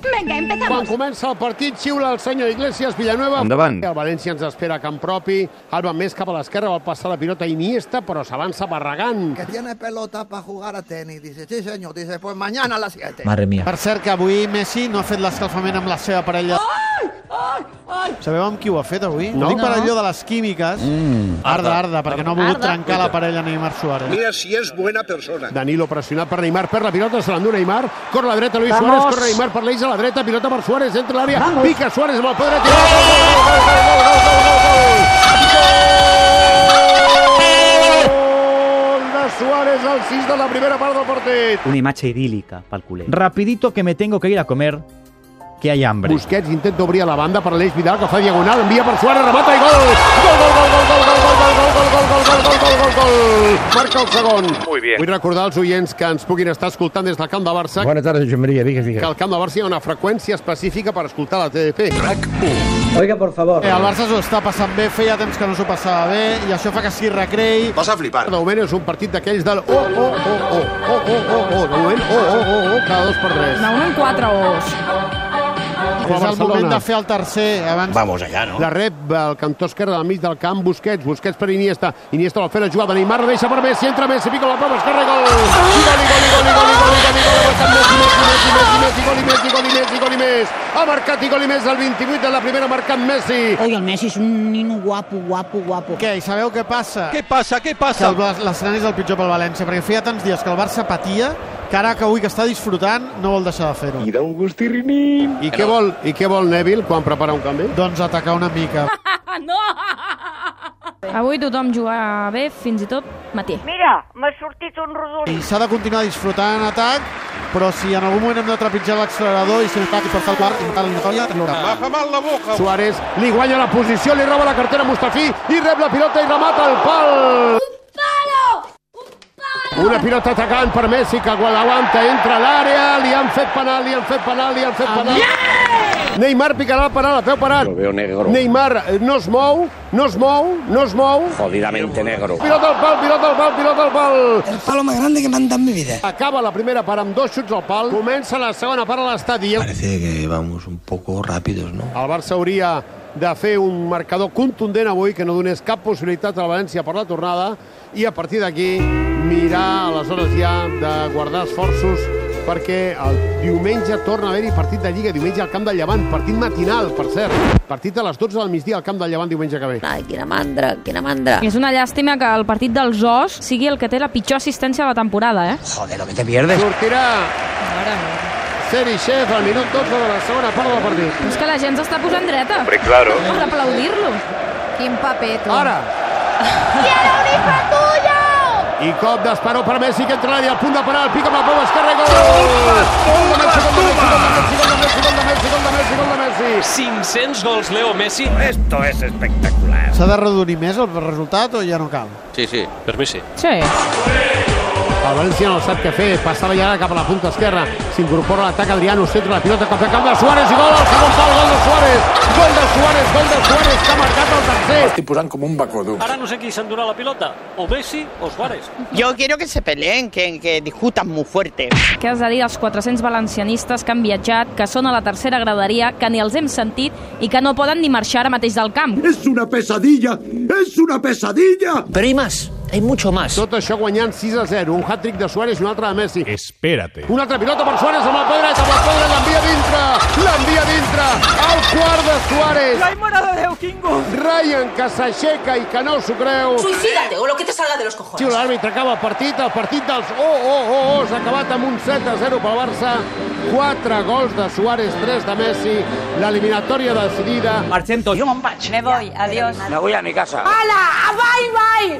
Vinga, empezamos. Quan comença el partit, xiula el senyor Iglesias Villanueva. Endavant. El València ens espera a camp propi. Alba més cap a l'esquerra, vol passar la pilota a Iniesta, però s'avança Barragán. que tiene pelota para jugar a tenis. Dice, sí, señor. Dice, pues mañana a las 7. Madre mía. Per cert, que avui Messi no ha fet l'escalfament amb la seva parella. Ai, ai, ai. Sabeu amb qui ho ha fet avui? No. No, dic per No. allò de les químiques. Mm. Arda, arda, perquè no ha volgut Arda. trencar la parella Neymar Suárez. Mira si es buena persona. Danilo pressionat per Neymar, per la pilota, se l'endú Neymar, cor a la dreta Luis Suárez, corre Neymar per l'eix a la dreta, pilota per Suárez, entra a l'àrea, pica Suárez amb el peu dret, i gol, gol, gol, gol, gol, gol, gol, gol, gol, gol! Gol de Suárez al 6 de la primera part del partit. Una imatge idíl·lica pel culer. Rapidito que me tengo que ir a comer, que hay hambre. Busquets intenta obrir a la banda per l'Eix Vidal, que fa diagonal, envia per Suárez, remata i gol! Gol, gol, gol, gol, gol, gol, gol, gol, gol, gol, gol, gol, gol, gol, gol, gol! Marca el segon. Muy bien. Vull recordar als oients que ens puguin estar escoltant des del camp de Barça, Bona tarda, Josep Maria, digues, que digues. al camp de Barça hi ha una freqüència específica per escoltar la TDP. Oiga, por favor. Eh, el Barça s'ho està passant bé, feia temps que no s'ho passava bé, i això fa que s'hi recreï. Vas a flipar. De moment és un partit d'aquells del oh, oh, oh, oh, oh, oh, oh, oh, de moment, oh, oh, oh, oh, cada dos per tres. No, un en quatre os. És el moment de fer el tercer, abans Vamos allá, ¿no? La rep al cantó esquerre del mig del camp, Busquets, Busquets per Iniesta, Iniesta vol fer la jugada, Neymar la deixa per Messi, entra Messi, pica la prova, esquerra, i gol! I Gol, i gol, i gol, i gol, i gol, i gol, i gol, ha marcat Messi, Messi, Messi, Messi, gol, i més, i gol, i més, i gol, i més, ha marcat i gol i més el 28 de la primera, ha marcat Messi. Oye, el Messi es un nino guapo, guapo, guapo. Què, i sabeu què passa? ¿Qué pasa? ¿Qué Que pasa? el Blas- l'escenari és el pitjor pel València, perquè feia tants dies que el Barça patia, que ara que avui que està disfrutant no vol deixar de fer-ho. da un gustirrinín. I què vol, i què vol Neville quan prepara un canvi? Doncs atacar una mica. Ah, no! Avui tothom juga bé, fins i tot Matí. I s'ha de continuar disfrutant en atac, però si en algun moment hem de trepitjar l'accelerador i si no i per fer el quart, intentar l'eliminatòria, l'haurà. Baja mal la boca. Suárez li guanya la posició, li roba la cartera a Mustafí i rep la pilota i remata el pal. Un palo! Una pilota atacant per Messi, que quan l'aguanta entra a l'àrea, li han fet penal, li han fet penal, li han fet penal. Neymar picarà el penal, a peu parat. veo negro. Neymar eh, no es mou, no es mou, no es mou. Jodidamente negro. Pilota al pal, pilota al pal, pilota al pal. El palo más grande que me han dado en mi vida. Acaba la primera part amb dos xuts al pal. Comença la segona part a l'estadi. Parece que vamos un poco rápidos, ¿no? El Barça hauria de fer un marcador contundent avui que no donés cap possibilitat al València per la tornada i a partir d'aquí mirar aleshores ja de guardar esforços perquè el diumenge torna a haver-hi partit de Lliga, diumenge al Camp del Llevant, partit matinal, per cert, partit a les 12 del migdia al Camp del Llevant diumenge que ve. Ay, quina mandra, quina mandra. És una llàstima que el partit dels os sigui el que té la pitjor assistència de la temporada, eh? Joder, lo que te pierdes. Sortirà Serichev al minut 12 de la segona part del partit. És que la gent s'està posant dreta. Hombre, claro. Per aplaudir-lo. Quin paper, tu. Ara! Quiero un hijo tuyo! I cop d'esperó per Messi que entra a l'àrea, al punt de parar, el pica amb la prova esquerra i gol! Gol de Messi, gol de Messi, gol de Messi, gol de Messi, gol de Messi, gol de Messi, gol de Messi! 500 gols, Leo Messi. S'ha de redonir més el resultat o ja no cal? Sí. El València no sap què fer, passava ja cap a la punta esquerra, s'incorpora a l'atac Adriano, centra la pilota contra camp de Suárez i gol al segon pal, gol de Suárez! Gol de Suárez, gol de Suárez, que ha marcat el tercer! posant com un bacodú. Ahora no sé quién se enduró la pelota. O Messi o Suárez. Yo quiero que se peleen, que, que discutan muy fuerte. Què has de dir als 400 valencianistes que han viatjat, que són a la tercera graderia, que ni els hem sentit i que no poden ni marxar ara mateix del camp? Pero hay más. Hay mucho más. Tot això guanyant 6 a 0, un hat-trick de Suárez i un altre de Messi. Espérate. Una altra pilota per Suárez amb el peu dret, amb el peu dret, l'envia dintre, l'envia dintre, el quart de Suárez. L'ha morado de Eukingo. Ryan que s'aixeca i que no s'ho creu. Suicídate o lo que te salga de los cojones. Xiu, l'àrbitre acaba el partit, el partit dels oh, oh, oh, oh, s'ha acabat amb un 7 a 0 pel Barça. 4 gols de Suárez, 3 de Messi, l'eliminatòria decidida. Marchento, yo me Me voy, adiós. Me voy a mi casa. ¡Hala! ¡Bye, bye!